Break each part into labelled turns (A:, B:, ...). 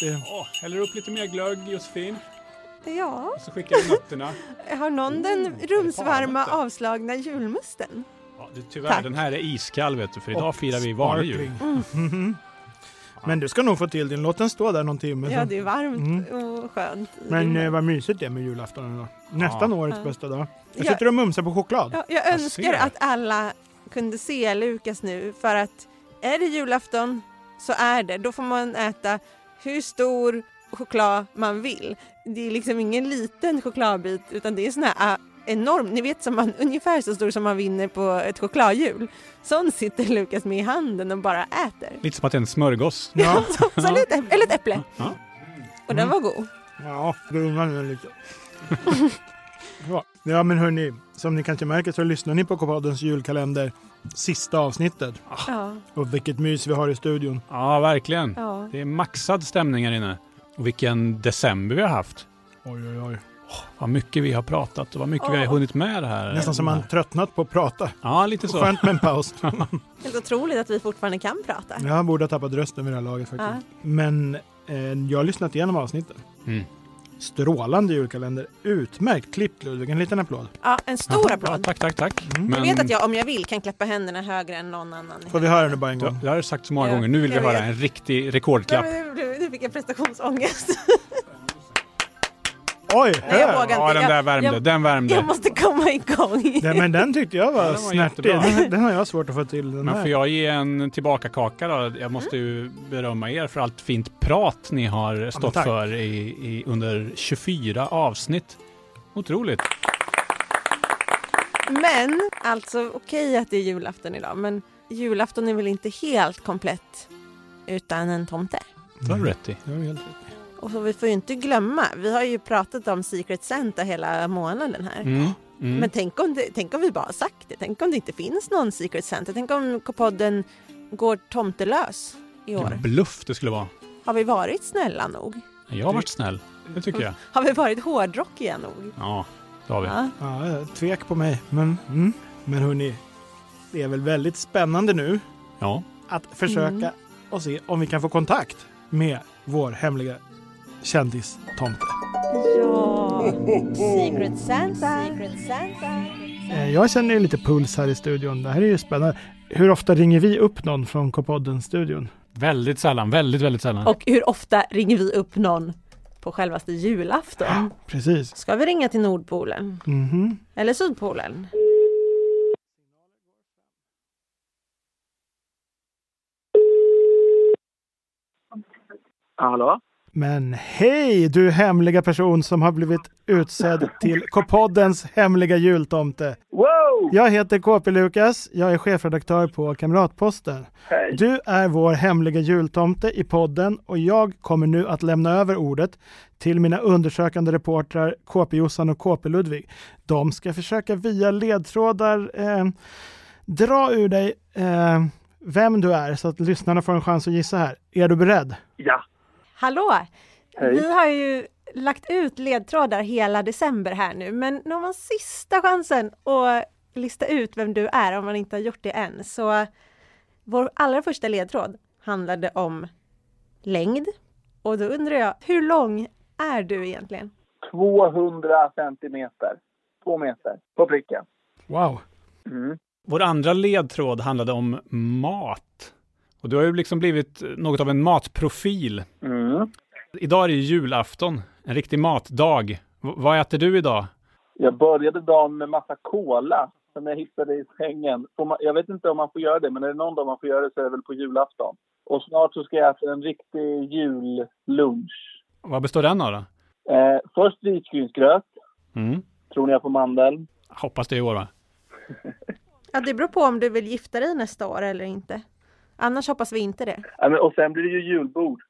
A: det...
B: Åh, häller upp lite mer glögg Josefin.
C: Ja,
B: Och så skickar vi nötterna.
C: har någon
B: Mm,
C: den
B: det är fan
C: rumsvarma
B: inte.
C: avslagna julmusten?
B: Ja, du, tyvärr,
C: Tack.
B: den här är iskall vet du, för idag
A: Och
B: firar vi vanlig jul.
A: sparkling.
C: Mm.
B: Mm.
A: Mhm. Men du ska nog få till din. Låt den stå där någon timme.
C: Ja,
A: sen.
C: det är varmt och skönt.
A: Mm.
C: i
A: Men
C: din-
A: eh, vad mysigt det är med julafton idag. Nästan årets
C: Ja.
A: bästa dag. Jag
C: Ja.
A: sitter och mumsar på choklad.
C: Ja, jag önskar
B: ser.
C: att alla kunde se Lukas nu för att är det julafton så är det. Då får man äta hur stor choklad man vill. Det är liksom ingen liten chokladbit utan det är sån här ah, enorm, ni vet som man, ungefär så stor som man vinner på ett chokladhjul. Sån sitter Lukas med i handen och bara äter.
B: Lite som att det är en smörgås.
A: Ja,
C: Så, så lite, eller ett äpple.
B: Ja. Mm.
C: Och den var god.
A: ja du undrar nu lite. Ja. ja, men hörni, som ni kanske märker så lyssnar ni på K-poddens julkalender, sista avsnittet.
C: Ja,
A: Och vilket mys vi har i studion.
B: Ja, verkligen.
C: ja.
B: Det är maxad stämning här inne. Och vilken december vi har haft.
A: Oj, oj, oj.
B: Vad mycket vi har pratat och vad mycket vi har
C: Ja.
B: hunnit med det här.
A: Nästan som man tröttnat på att prata.
B: Ja, lite så.
A: Skönt med en paus.
C: Helt otroligt att vi fortfarande kan prata.
A: Jag borde ha tappat rösten vid det här laget faktiskt. Men eh, jag har lyssnat igenom avsnitten.
B: Mm.
A: Strålande julkalender. Utmärkt klippt Ludvig. En liten applåd.
C: Ja, en stor
B: Ja,
C: applåd.
B: tack, tack, tack.
A: Mm.
C: Jag vet att jag om jag vill kan klappa händerna högre än någon annan.
A: Får vi höra nu bara en gång?
B: Du, det har du sagt så många
C: Ja,
B: gånger. Nu vill vi
C: jag
B: höra
C: vet.
B: en riktig rekordklapp.
C: Nej, men Nu, blev- nu fick jag prestationsångest.
A: Oj!
C: Nej, jag
A: hör.
C: vågar
B: Ja,
C: inte.
B: den där
C: Jag,
B: värmde.
C: jag-
B: den värmde.
C: jag måste komma igång.
A: Den, men den tyckte jag var,
B: Ja, den var
A: snärtig.
B: jättebra.
A: Den, den har jag svårt att få till. Den
B: Men
A: här.
B: får jag ge en tillbakakaka då?
C: Mm.
B: Jag måste ju berömma er för allt fint prat ni har stått
A: tack.
B: för i, i, under 24 avsnitt. Otroligt.
C: Mm. Men alltså okej att det är julafton idag, men julafton är väl inte helt komplett utan en tomte.
B: Det har du rätt i.
A: Mm. Det var helt-
C: Och så vi får ju inte glömma, vi har ju pratat om Secret Santa hela månaden här.
B: Mm. Mm.
C: Men tänk om, det, tänk om vi bara har sagt det, tänk om det inte finns någon Secret Santa, tänk om podden går tomtelös i år.
B: Vilken bluff det skulle vara.
C: Har vi varit snälla nog?
B: Jag har varit snäll. Det tycker jag.
C: Har vi varit hårdrockiga nog?
B: Ja, det har vi.
C: Ja.
A: Ja, jag tvek på mig. Men, mm. men hörni, det är väl väldigt spännande nu
B: Ja.
A: att försöka
C: Mm.
A: och se om vi kan få kontakt med vår hemliga kändistomte.
C: Ja. Secret Santa. Secret Santa.
A: Eh, Jag känner ju lite puls här i studion. Det här är ju spännande. Hur ofta ringer vi upp någon från K-podden-studion?
B: Väldigt sällan. Väldigt, väldigt sällan.
C: Och hur ofta ringer vi upp någon på självaste julafton?
A: Precis.
C: Ska vi ringa till Nordpolen?
A: Mhm.
C: Eller Sydpolen?
D: Hallå?
A: Men hej du hemliga person som har blivit utsedd till K-poddens hemliga jultomte.
D: Wow!
A: Jag heter KP Lukas. Jag är chefredaktör på Kamratposten.
D: Hej.
A: Du är vår hemliga jultomte i podden och jag kommer nu att lämna över ordet till mina undersökande reportrar KP Jossan och KP Ludvig. De ska försöka via ledtrådar eh, dra ur dig eh, vem du är så att lyssnarna får en chans att gissa här. Är du beredd?
D: Ja.
C: Hallå!
D: Hej.
C: Vi har ju lagt ut ledtrådar hela december här nu, men nu har man sista chansen att lista ut vem du är om man inte har gjort det än. Så vår allra första ledtråd handlade om längd och då undrar jag, hur lång är du egentligen?
D: 200 centimeter. Två meter. På pricken.
A: Wow.
D: Mm.
B: Vår andra ledtråd handlade om mat. Och du har ju liksom blivit något av en matprofil.
D: Mm.
B: Idag är det ju julafton, en riktig matdag. V- vad äter du idag?
D: Jag började dagen med massa cola som jag hittade i sängen. Får man- Jag vet inte om man får göra det, men är det någon dag man får göra det så är det väl på julafton. Och snart så ska jag äta en riktig jullunch.
B: Vad består den av då?
D: Eh, först vitgrynsgröt.
B: Mm.
D: Tror ni jag får mandel?
B: Hoppas det i år va?
C: Ja, det beror på om du vill gifta dig nästa år eller inte. Annars hoppas vi inte det.
D: Ja, men, och sen blir det ju julbord.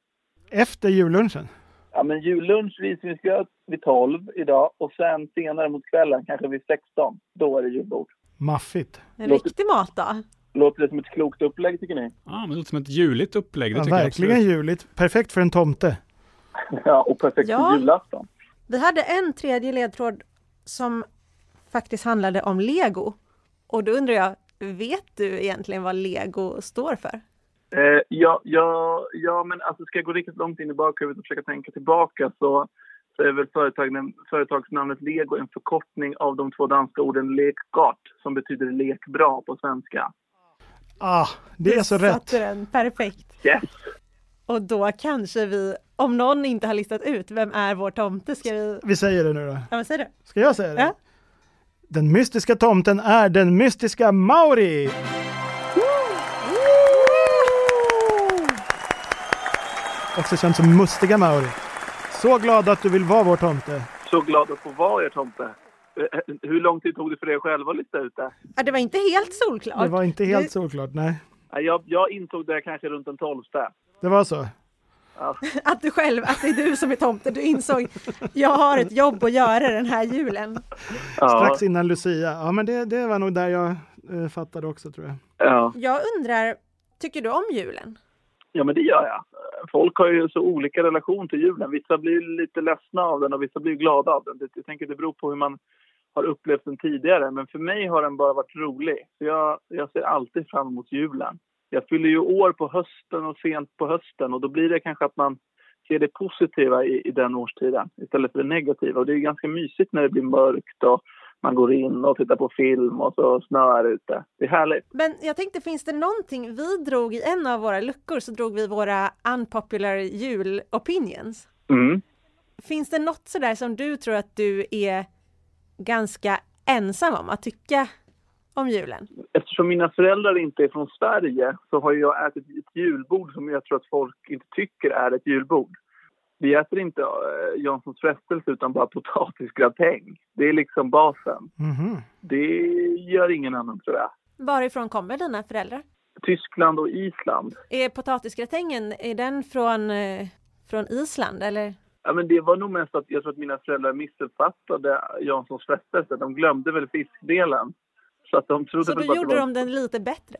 A: Efter jullunchen?
D: Ja, men jullunch, vitgrynsgröt vid 12 idag och sen senare mot kvällen, kanske vid 16, då är det julbord.
A: Maffigt.
C: En
D: Låter-
C: riktig matdag.
D: Låter det som ett klokt upplägg tycker ni?
B: Ja, men det låter som ett juligt upplägg. Det
A: Ja,
B: tycker jag
A: verkligen
B: absolut.
A: juligt. Perfekt för en tomte.
D: Ja, och perfekt
C: Ja.
D: för julafton.
C: Vi hade en tredje ledtråd som faktiskt handlade om lego. Och då undrar jag, vet du egentligen vad lego står för?
D: Eh, ja, ja, ja, men alltså ska jag gå riktigt långt in i bakhuvudet och försöka tänka tillbaka så, så är väl företag, företagsnamnet Lego en förkortning av de två danska orden lekgart som betyder lek bra på svenska.
A: Ah, det är så
C: Du
A: rätt.
C: satte den perfekt.
D: Yes!
C: Och då kanske vi, om någon inte har listat ut vem är vår tomte, ska vi...
A: Vi säger det nu då.
C: Ja, vad säger du?
A: Ska jag säga det?
C: Ja.
A: Den mystiska tomten är den mystiska Mauri! Också känd som Mustiga Mauri. Så glad att du vill vara vår tomte.
D: Så glad att få vara er tomte. Eh, eh, Hur lång tid tog det för er själva att lista ut det?
C: Ja, det var inte helt solklart.
A: Det var inte
C: Det-
A: helt solklart, nej.
D: Ja, Jag, jag insåg det kanske runt den tolfte.
A: Det var så.
C: Att du själv, att det är du som är tomten. Du insåg, jag har ett jobb att göra den här julen.
D: Ja,
A: Strax innan Lucia. Ja, men det, det var nog där jag eh, fattade också tror jag.
D: ja.
C: Jag undrar, tycker du om julen?
D: ja, men det gör jag. Folk har ju så olika relation till julen. Vissa blir lite ledsna av den och vissa blir glada av den. Det, jag tänker att det beror på hur man har upplevt den tidigare. Men för mig har den bara varit rolig. Så jag, jag ser alltid fram emot julen. Jag fyller ju år på hösten och sent på hösten och då blir det kanske att man ser det positiva i, i den årstiden istället för det negativa. Och det är ju ganska mysigt när det blir mörkt och man går in och tittar på film och så snöar det ute. Det är härligt.
C: Men jag tänkte, finns det någonting, vi drog i en av våra luckor så drog vi våra unpopular julopinions.
D: Mm.
C: Finns det något sådär som du tror att du är ganska ensam om att tycka om julen?
D: eftersom mina föräldrar inte är från Sverige så har jag ätit ett julbord som jag tror att folk inte tycker är ett julbord. Vi äter inte eh, Janssons frestelse utan bara potatisgratäng. Det är liksom basen.
A: Mhm.
D: Det gör ingen annan tror jag.
C: Varifrån kommer dina föräldrar?
D: Tyskland och Island.
C: Är potatisgratängen, är den från, eh, från Island eller?
D: Ja, men det var nog mest att jag tror att mina föräldrar missuppfattade Janssons frestelse. De glömde väl fiskdelen. Så, att de trodde
C: Så
D: väl
C: då
D: bara att det
C: gjorde
D: var-
C: de den lite bättre?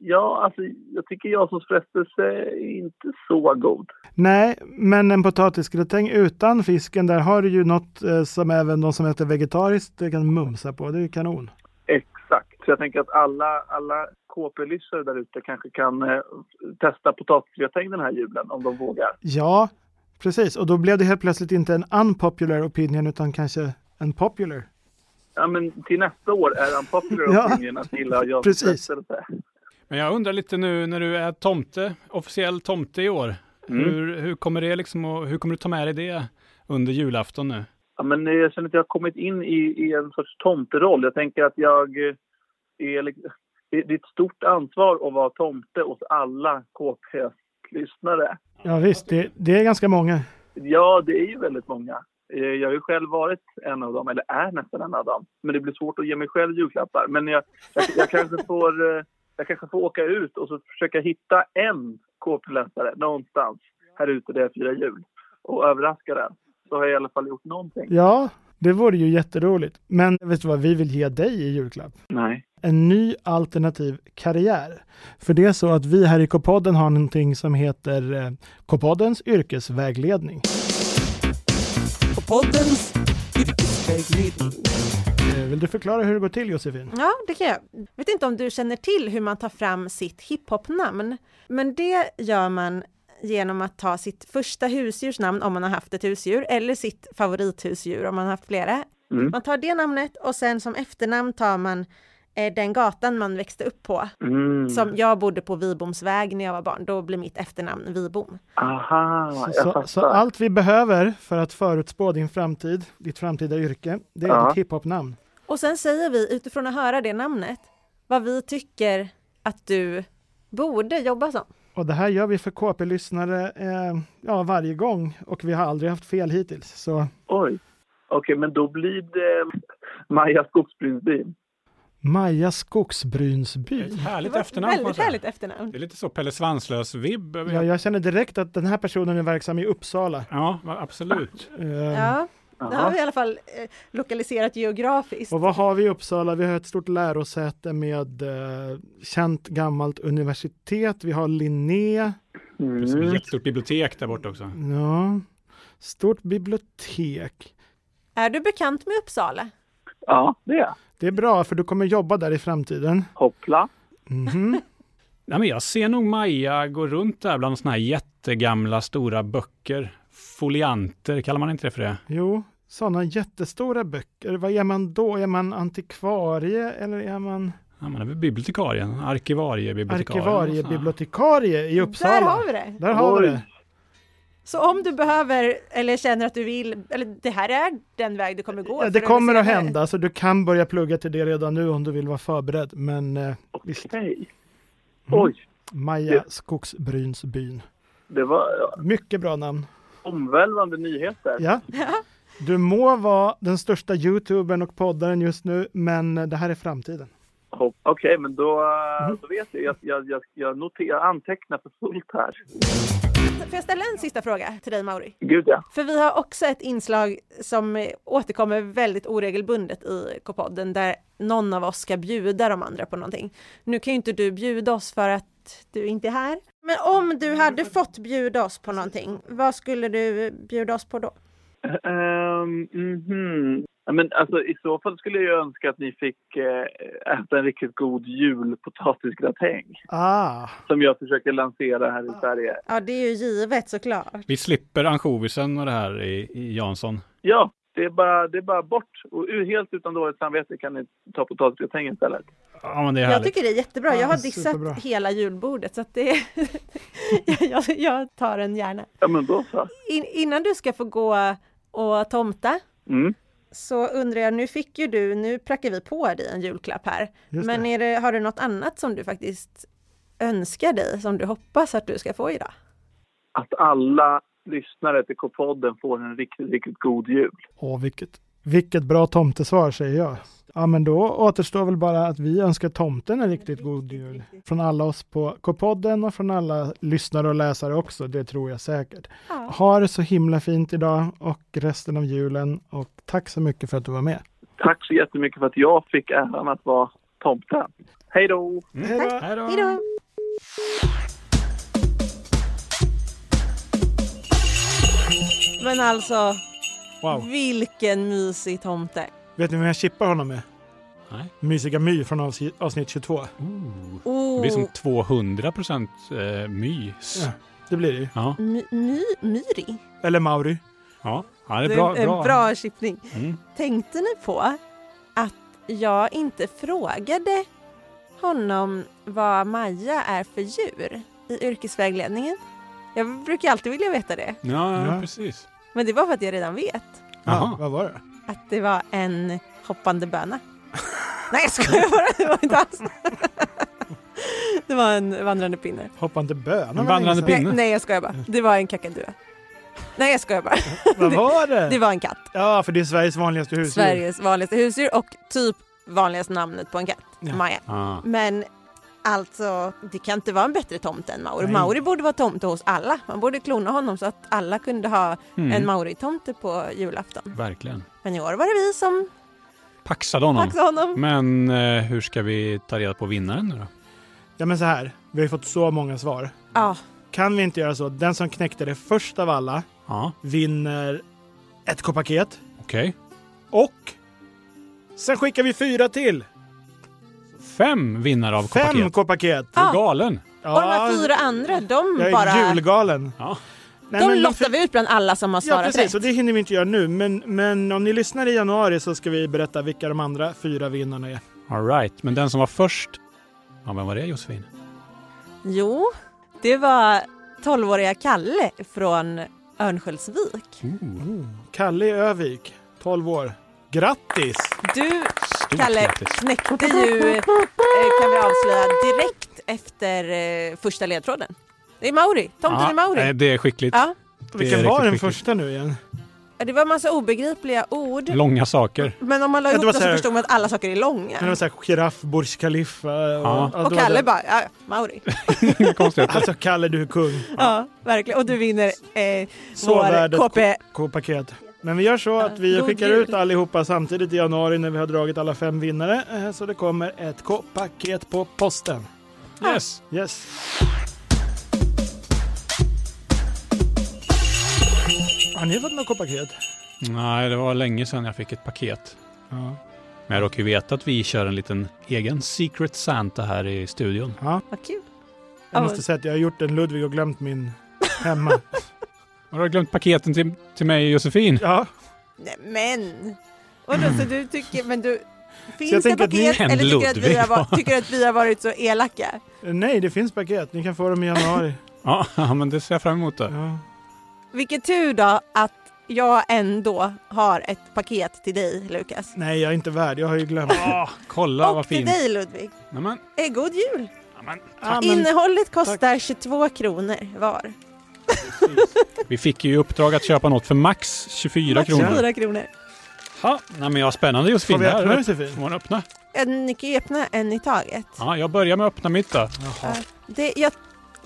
D: Ja, alltså, jag tycker Janssons frestelse är inte så god.
A: Nej, men en potatisgratäng utan fisken, där har du ju något eh, som även de som äter vegetariskt eh, kan mumsa på. Det är ju kanon.
D: Exakt. Så jag tänker att alla, alla KP-lyssnare där ute kanske kan eh, testa potatisgratäng den här julen om de vågar.
A: Ja, precis. Och då blev det helt plötsligt inte en unpopular opinion utan kanske en popular.
D: Ja, men till nästa år är unpopular
A: Ja.
D: opinion att gilla jag
A: Precis.
B: Men jag undrar lite nu när du är tomte, officiell tomte i år.
A: Mm.
B: Hur, hur kommer det liksom och hur kommer du ta med dig det under julafton nu?
D: Ja, men eh, jag känner att jag har kommit in i, i en sorts tomteroll. Jag tänker att jag eh, är... lik- Det det är ett stort ansvar att vara tomte åt alla KP-lyssnare.
A: Ja visst, det, det är ganska många.
D: Ja, det är ju väldigt många. Eh, Jag har ju själv varit en av dem, eller är nästan en av dem. Men det blir svårt att ge mig själv julklappar. Men jag, jag, jag, kanske, får, eh, jag kanske får åka ut och så försöka hitta en KP-läsare någonstans här ute där jag firar jul och överraska den. Så har jag i alla fall gjort någonting.
A: Ja, det vore ju jätteroligt. Men vet du vad vi vill ge dig i julklapp?
D: Nej.
A: en ny alternativ karriär. För det är så att vi här i K-podden har någonting som heter eh, K-poddens yrkesvägledning. Eh, Vill du förklara hur det går till Josefin?
C: Ja, det kan jag. Jag vet inte om du känner till hur man tar fram sitt hiphopnamn, men det gör man genom att ta sitt första husdjurs namn om man har haft ett husdjur eller sitt favorithusdjur om man har haft flera.
D: Mm.
C: Man tar det namnet och sen som efternamn tar man eh, den gatan man växte upp på.
D: Mm.
C: Som jag bodde på Vibomsväg när jag var barn, då blir mitt efternamn Vibom.
D: Aha, jag
A: Så,
D: fattar.
A: så allt vi behöver för att förutspå din framtid, ditt framtida yrke, det är
D: Ja.
A: ditt hiphopnamn.
C: Och sen säger vi utifrån att höra det namnet vad vi tycker att du borde jobba som.
A: Och det här gör vi för KP-lyssnare eh, ja, varje gång och vi har aldrig haft fel hittills. Så
D: Oj. Okej, men då blir det Maja Skogsbrynsbyn.
A: Maja
B: Det är Ett
A: Skogsbrynsby.
B: härligt
C: Mm. det var
B: efternamn får man
C: väldigt
B: säga.
C: härligt efternamn.
B: Det är lite så Pelle Svanslös-vibb. över-
A: Ja, jag känner direkt att den här personen är verksam i Uppsala.
B: Ja, va- absolut.
A: Eh,
C: Ja, det har
D: Jaha.
C: vi i alla fall eh, lokaliserat geografiskt.
A: Och vad har vi i Uppsala? Vi har ett stort lärosäte med eh, känt gammalt universitet. Vi har Linné.
B: Precis,
D: Mm.
B: ett jättestort bibliotek där borta också.
A: Ja. Stort bibliotek.
C: Är du bekant med Uppsala?
D: Ja, det är jag.
A: Det är bra för du kommer jobba där i framtiden.
D: Hoppla.
A: Mhm.
B: Nej, men jag ser nog Maja gå runt där bland såna här jättegamla stora böcker. Folianter, kallar man inte det för det?
A: Jo, sådana jättestora böcker. Vad är man då? Är man antikvarie eller är man
B: Ja, man är väl bibliotekarie, arkivarie, bibliotekarie.
A: arkivariebibliotekarie i Uppsala?
C: Där har vi det!
A: Där har vi
D: Oj.
A: det.
C: Så om du behöver eller känner att du vill, eller det här är den väg du kommer gå.
A: Ja,
C: för
A: det kommer att
C: se-
A: hända, så du kan börja plugga till det redan nu om du vill vara förberedd. Men eh, visst,
D: Okej.
A: Mm.
D: Oj,
A: Maja Skogsbrynsbyn.
D: det var ja,
A: Mycket bra namn.
D: omvälvande nyheter.
A: Ja. Du må vara den största youtubern och poddaren just nu, men eh, det här är framtiden.
D: Hopp- Okej, men då, eh, då vet jag. Jag, jag, jag, jag, noterar, jag antecknar för fullt här.
C: Får jag ställa en sista fråga till dig Mauri?
D: Gud ja.
C: För vi har också ett inslag som eh, återkommer väldigt oregelbundet i K-podden där någon av oss ska bjuda de andra på någonting. Nu kan ju inte du bjuda oss för att du inte är här. Men om du hade fått bjuda oss på någonting, vad skulle du bjuda oss på då?
D: Ehm, mhm. Ja, Men alltså, I så fall skulle jag önska att ni fick eh, äta en riktigt god julpotatisgratäng
A: Ah,
D: som jag försöker lansera här i Sverige.
C: Ja, det är ju givet såklart.
B: Vi slipper ansjovisen och det här i, i Jansson.
D: Ja, det är bara, det är bara bort. Och u- helt utan dåligt samvete kan ni ta potatisgratäng istället.
B: Ja, men det är
C: Jag
B: härligt.
C: tycker det är jättebra.
A: Ja,
C: Jag har dissat
A: superbra.
C: hela julbordet så att det... jag, jag, jag tar den gärna.
D: Ja, men då så.
C: In, innan du ska få gå och tomta
D: Mm.
C: så undrar jag, nu fick ju du, nu prackar vi på dig en julklapp här.
A: Just
C: Men
A: det.
C: är det, har du något annat som du faktiskt önskar dig, som du hoppas att du ska få idag?
D: Att alla lyssnare till K-podden får en riktigt, riktigt god jul.
A: åh vilket, vilket bra tomtesvar säger jag. Ja, men då återstår väl bara att vi önskar tomten en riktigt god jul. Från alla oss på K-podden och från alla lyssnare och läsare också, det tror jag säkert.
C: Ja.
A: Ha det så himla fint idag och resten av julen och tack så mycket för att du var med.
D: Tack så jättemycket för att jag fick äran att vara tomten. Hej då!
B: Hej då!
C: Hej då! Men alltså,
A: Wow.
C: vilken mysig tomte!
A: Vet ni vem jag chippar honom med?
B: Nej.
A: Mysiga My från avs- avsnitt 22.
B: Ooh. Det
C: Oh,
B: blir som 200 procent eh, mys.
A: Ja. Det blir det ju.
B: Ja.
C: my, my, myri.
A: Eller Mauri.
B: Ja. ja, det
C: Det
B: är
C: är
B: bra.
C: en
B: bra.
C: bra chippning.
B: Mm.
C: Tänkte ni på att jag inte frågade honom vad Maja är för djur i yrkesvägledningen? Jag brukar alltid vilja veta det,
B: Ja, ja,
A: Ja.
B: precis.
C: men det var för att jag redan vet
A: Ja,
B: Jaha.
A: vad var det?
C: att det var en hoppande böna. Nej, jag skojar bara, det var inte alls. Det var en vandrande pinne.
A: Hoppande bön.
B: En vandrande
C: Nej,
B: Pinne?
C: nej jag skojar bara. Det var en kakadua. Nej, jag skojar bara.
A: Vad var det?
C: Det var en katt.
A: Ja, för det är Sveriges vanligaste husdjur.
C: Sveriges vanligaste husdjur och typ vanligaste namnet på en katt.
A: Ja.
C: Maja.
B: Ah.
C: Men alltså, det kan inte vara en bättre tomte än Mauri.
A: Nej.
C: Mauri borde vara tomte hos alla. Man borde klona honom så att alla kunde ha
B: Mm.
C: en Mauri-tomte på julafton.
B: Verkligen.
C: Men i år var det vi som
B: Paxade honom.
C: paxade honom.
B: Men eh, hur ska vi ta reda på vinnaren nu då?
A: Ja, men så här. Vi har ju fått så många svar.
C: Ja,
A: Kan vi inte göra så? Den som knäckte det först av alla
B: Ja,
A: vinner ett K-paket.
B: okej.
A: Och sen skickar vi fyra till.
B: Fem vinnare av
A: Fem
B: K-paket.
A: K-paket.
B: Du
C: Ah.
B: är galen.
C: och de här fyra andra, de
A: jag är
C: bara...
A: julgalen.
B: Ja.
A: Nej,
C: De
A: men
C: lottar vi ut bland alla som
A: Ja,
C: har svarat
A: precis. Och
C: rätt.
A: det hinner vi inte göra nu. Men, men om ni lyssnar i januari så ska vi berätta vilka de andra fyra vinnarna är.
B: All right. Men den som var först, ja, vem var det Josefin?
C: Jo, det var 12-åriga Kalle från Örnsköldsvik.
A: Kalle i Övik, 12 år. Grattis!
C: Du,
B: Stort
C: Kalle,
B: grattis.
C: knäckte ju, eh, kan vi avslöja, direkt efter eh, första ledtråden. Det är Mauri, tomten
B: Ja,
C: är Mauri.
B: eh, Det är skickligt.
C: Ja,
B: Det är
A: Vilken
B: riktigt
A: var den
B: skickligt.
A: första nu igen?
C: det var en massa obegripliga ord.
B: Långa saker.
C: Men om man la
A: Ja, det
C: ihop
A: var
C: dem så
A: så här-
C: förstod man att alla saker är
A: Men det var
C: långa.
A: såhär giraff, Burj Khalifa och,
B: Ja.
A: ja,
C: Och
A: det var
C: Kalle
A: det.
C: bara, ja, ja, Mauri.
B: Konstigheter.
A: Alltså Kalle du är kung.
C: Ja, verkligen. Och du vinner eh, vår
A: Sovvärdet
C: KP.
A: K-paket. Men vi gör så att vi
C: god
A: skickar
C: jul.
A: ut allihopa samtidigt i januari när vi har dragit alla fem vinnare. Eh, Så det kommer ett K-paket på posten.
B: Yes.
A: Yes. Har ni fått något K-paket?
B: Nej, det var länge sedan jag fick ett paket.
A: Ja.
B: Men jag råkar ju veta att vi kör en liten egen Secret Santa här i studion.
C: Vad kul.
A: Jag
C: Ja,
A: måste
C: men-
A: säga att jag har gjort en Ludvig och glömt min hemma.
B: Har du glömt paketen till, till mig och Josefin?
A: Ja,
C: Nej, men! Vadå, så du tycker, men du... Finns det
A: tänker att ni-
C: paket eller tycker du att, vi
B: Ludvig
C: har, va-
B: var-
C: tycker du att vi har varit så elaka?
A: nej det finns paket. Ni kan få dem i januari.
B: Ja, men det ser jag fram emot då.
A: Ja.
C: Vilken tur då att jag ändå har ett paket till dig, Lukas.
A: Nej, jag är inte värd. Jag har ju glömt.
B: Ah, kolla
C: och
B: vad
C: till
B: fin.
C: dig, Ludvig.
B: Nej, men,
C: Eh, god jul!
B: ja, men,
A: Ja, Ah, men
C: Innehållet kostar 22 kronor var.
B: vi fick ju i uppdrag att köpa något för max 24
C: Max
B: kronor.
C: 24 kronor.
B: Ja, nej, men jag spännande Josefin.
A: Får vi
B: Det här
A: öppna
B: är-
A: Josefin?
B: Får man öppna?
C: Ja, Ni kan ju öppna en i taget.
B: Ja, jag börjar med att öppna mitt då.
C: Det, jag
A: Yngst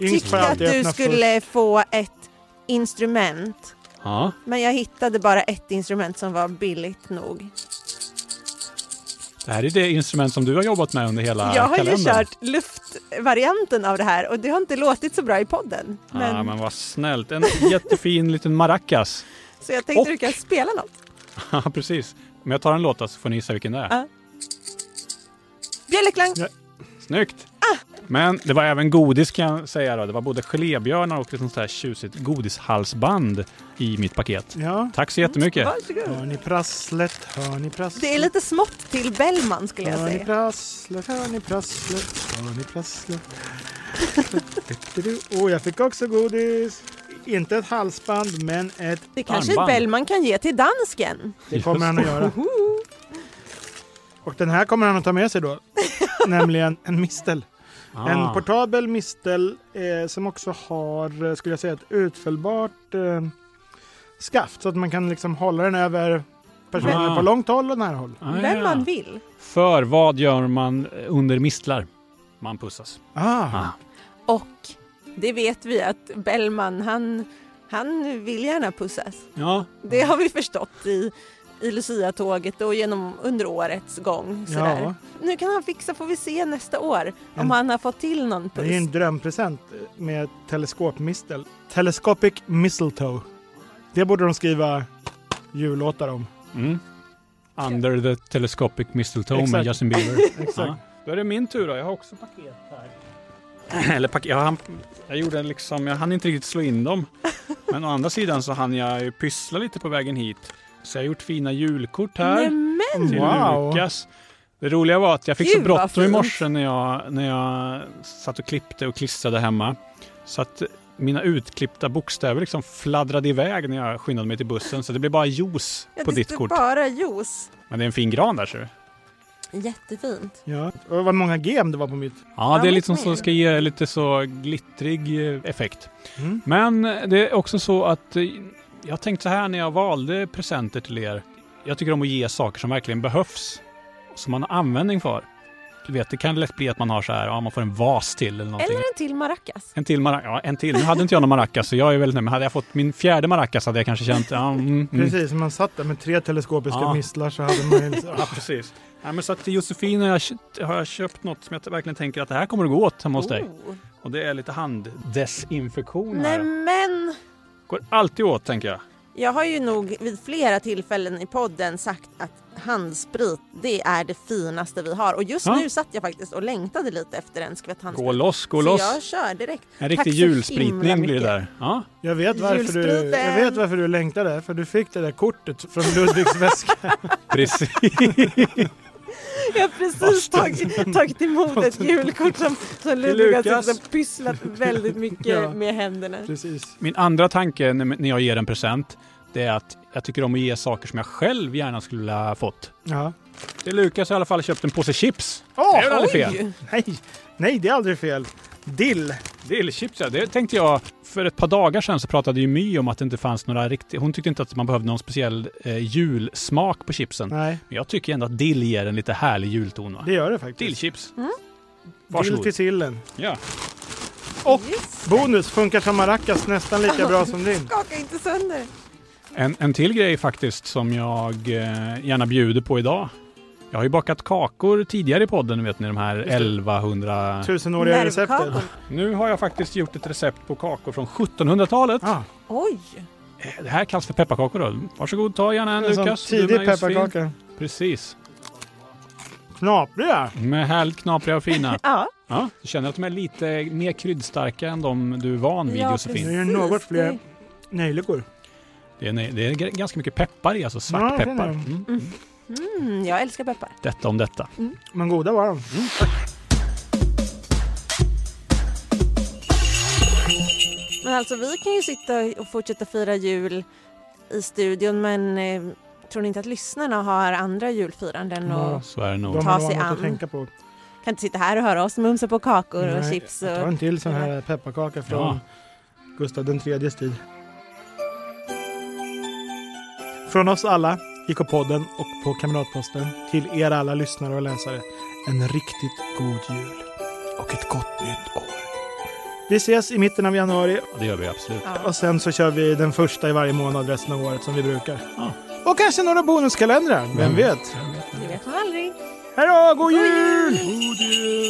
A: får
C: tyckte att
A: alltid
C: du
A: öppna
C: skulle få ett instrument.
B: Ja.
C: Men jag hittade bara ett instrument som var billigt nog.
B: Det här är det instrument som du har jobbat med under hela
C: jag har ju
B: kalendern.
C: kört luftvarianten av det här och det har inte låtit så bra i podden. Men,
B: Ja, Ah, men vad snällt. En jättefin liten maracas.
C: Så jag tänkte
B: och-
C: du kan spela något.
B: Ja, precis. Om jag tar en låt då så får ni gissa vilken det är.
C: Ja. Bjällerklang!
A: Ja.
B: Snyggt!
C: Ah.
B: Men det var även godis kan jag säga då. Det var både gelébjörnar och ett sånt här tjusigt godishalsband i mitt paket.
A: först. Ja.
B: Tack så jättemycket!
C: Varsågod.
A: Hör ni prasslet? Hör ni prasslet?
C: Det är lite smått till Bellman skulle jag
A: Hör ni
C: säga.
A: prasslet? Hör ni prasslet? Hör ni prasslet? Åh, jag fick också godis. Inte ett halsband, men ett.
C: Det kanske
B: Armband.
C: Bellman kan ge till dansken.
A: Det kommer han att göra. Och den här kommer han att ta med sig då. Nämligen en mistel.
B: Ah,
A: En portabel mistel eh, som också har, eh, skulle jag säga, ett utfällbart eh, skaft så att man kan liksom hålla den över personer
B: Ah.
A: på långt håll och nära håll.
B: ah,
C: Vem
B: ja.
C: man vill.
B: För vad gör man under mistlar? Man pussas.
A: Ah.
C: Och det vet vi att Bellman, han, han vill gärna pussas.
B: Ja,
C: Det har vi förstått i, i Lucia-tåget och genom under årets gång. Sådär.
A: Ja,
C: Nu kan han fixa, får vi se nästa år om
A: En-
C: han har fått till någon
A: det är ju
C: puss.
A: en drömpresent med teleskopmistel. Telescopic mistletoe. Det borde de skriva jullåtar om.
B: Mm. Under the telescopic mistletoe med
A: Exakt.
B: Justin Bieber.
A: Exakt.
B: Ja. Då är det min tur då. Jag har också paket här. Eller paket. Jag, hann, jag gjorde liksom, jag hann inte riktigt slå in dem. Men å andra sidan så hann jag ju pyssla lite på vägen hit. Så jag har gjort fina julkort här
C: Nämen!
B: till
A: Wow.
B: Lukas. Det roliga var att jag fick
C: Gud,
B: så
C: vad
B: bråttom i
C: fint.
B: morse när jag, när jag satt och klippte och klistrade hemma. Så att mina utklippta bokstäver liksom fladdrade iväg när jag skyndade mig till bussen. Så det blev bara juice
C: Ja,
B: på
C: det
B: ditt
C: står
B: kort.
C: bara juice.
B: Men det är en fin gran där ser du.
C: Jättefint.
A: Ja. Och vad många gem det var på mitt.
B: Ja, det är
C: men
B: liksom
C: snygg.
B: så ska ge lite så glittrig eh, effekt.
A: Mm.
B: Men det är också så att eh, jag tänkte så här när jag valde presenter till er. Jag tycker om att ge saker som verkligen behövs. Som man har användning för. Du vet, det kan lätt bli att man har så här, ja man får en vas till eller någonting.
C: Eller en till maracas.
B: En till maracas, ja en till. Nu hade inte jag någon maracas så jag är väldigt nöjd. Men hade jag fått min fjärde maracas hade jag kanske känt, ja mm, mm.
A: Precis, om man satt där med tre teleskopiska
B: Ja.
A: mistlar så hade man ju... liksom-
B: Ja, precis. Ja, men så att till Josefin har jag, köpt- har jag köpt något som jag verkligen tänker att det här kommer att gå åt hemma hos dig.
C: Oh.
B: Och det är lite handdesinfektion här.
C: Nämen!
B: Går alltid åt tänker jag.
C: Jag har ju nog vid flera tillfällen i podden sagt att handsprit, det är det finaste vi har. Och just
B: Ja.
C: nu satt jag faktiskt och längtade lite efter en skvätt handsprit.
B: Gå loss, gå
C: så
B: loss.
C: jag kör direkt.
B: En
C: Tack
B: riktig
C: så himla
B: julspritning blir det
C: mycket.
B: där. Ja.
A: Jag vet, varför du, jag
C: Julspriten!
A: vet varför du längtade, för du fick det där kortet från Ludvigs väska.
B: Precis.
C: Jag har precis tagit, tagit emot ett julkort som, som Ludvig har
B: Lukas.
C: suttit och pysslat väldigt mycket
A: Ja.
C: med händerna.
A: Precis.
B: Min andra tanke när när jag ger en present, det är att jag tycker om att ge saker som jag själv gärna skulle ha fått.
A: Ja.
B: Till Lukas har jag i alla fall köpt en påse chips.
A: Åh,
B: det är väl aldrig fel?
C: Oj!
A: Nej, nej, det är aldrig fel. Dill.
B: Dillchips ja, det tänkte jag. För ett par dagar sedan så pratade ju My om att det inte fanns några riktiga... Hon tyckte inte att man behövde någon speciell eh, julsmak på chipsen.
C: Mm.
A: Nej,
B: Men jag tycker ändå att dill ger en lite härlig julton va?
A: det gör det faktiskt.
B: Dillchips.
C: Mm.
B: Varsågod.
A: Dill till sillen.
B: Ja.
A: Och
C: Just.
A: bonus funkar som maracas nästan lika bra som din.
C: Skaka inte sönder.
B: En, en till grej faktiskt som jag eh, gärna bjuder på idag. Jag har ju bakat kakor tidigare i podden, vet ni de här
A: Just det.
B: 1100...
A: Tusenåriga
C: Nervkakor.
A: receptet.
B: Nu har jag faktiskt gjort ett recept på kakor från 1700-talet.
A: Ah,
C: Oj!
B: Eh, Det här kallas för pepparkakor då. Varsågod, ta gärna en
A: en sån
B: Lukas. Du
A: tidig
B: med, Josefin.
A: pepparkaka.
B: Precis.
A: knapriga.
B: De är härligt knapriga och fina.
C: Ja,
B: Ja, du känner att de är lite mer kryddstarka än de du är van vid
C: Ja,
A: Det
B: Josefin.
A: är ju
C: Precis,
A: något fler
C: det-
A: nejlikor.
B: Det är, det är g- ganska mycket peppar i, alltså svart
A: Ja, det är
B: peppar.
A: det.
B: Mm.
C: mm, jag älskar peppar.
B: Detta om detta.
A: Men goda var de.
C: Men alltså vi kan ju sitta och fortsätta fira jul i studion men eh, tror ni inte att lyssnarna har andra julfiranden och
A: Ja.
B: Så är det
A: De
B: nog.
A: har
C: Ta
A: nog
C: sig
A: annat att
C: an.
A: tänka på.
C: kan inte sitta här och höra oss mumsa på kakor och
A: Nej,
C: chips?
A: Jag tar
C: Och...
A: en till sån här pepparkaka från
B: Ja.
A: Gustav den tredjes tid. Från oss alla i K-podden och på Kamratposten till er alla lyssnare och läsare. En riktigt god jul och ett gott nytt år. Vi ses i mitten av januari
B: Ja, det gör vi absolut.
C: Ja.
A: och sen så kör vi den första i varje månad resten av året som vi brukar.
B: Ja. Mm.
A: Och kanske några bonuskalendrar, vem vet?
C: Det vet man aldrig.
A: Hej då, god jul!
B: God jul!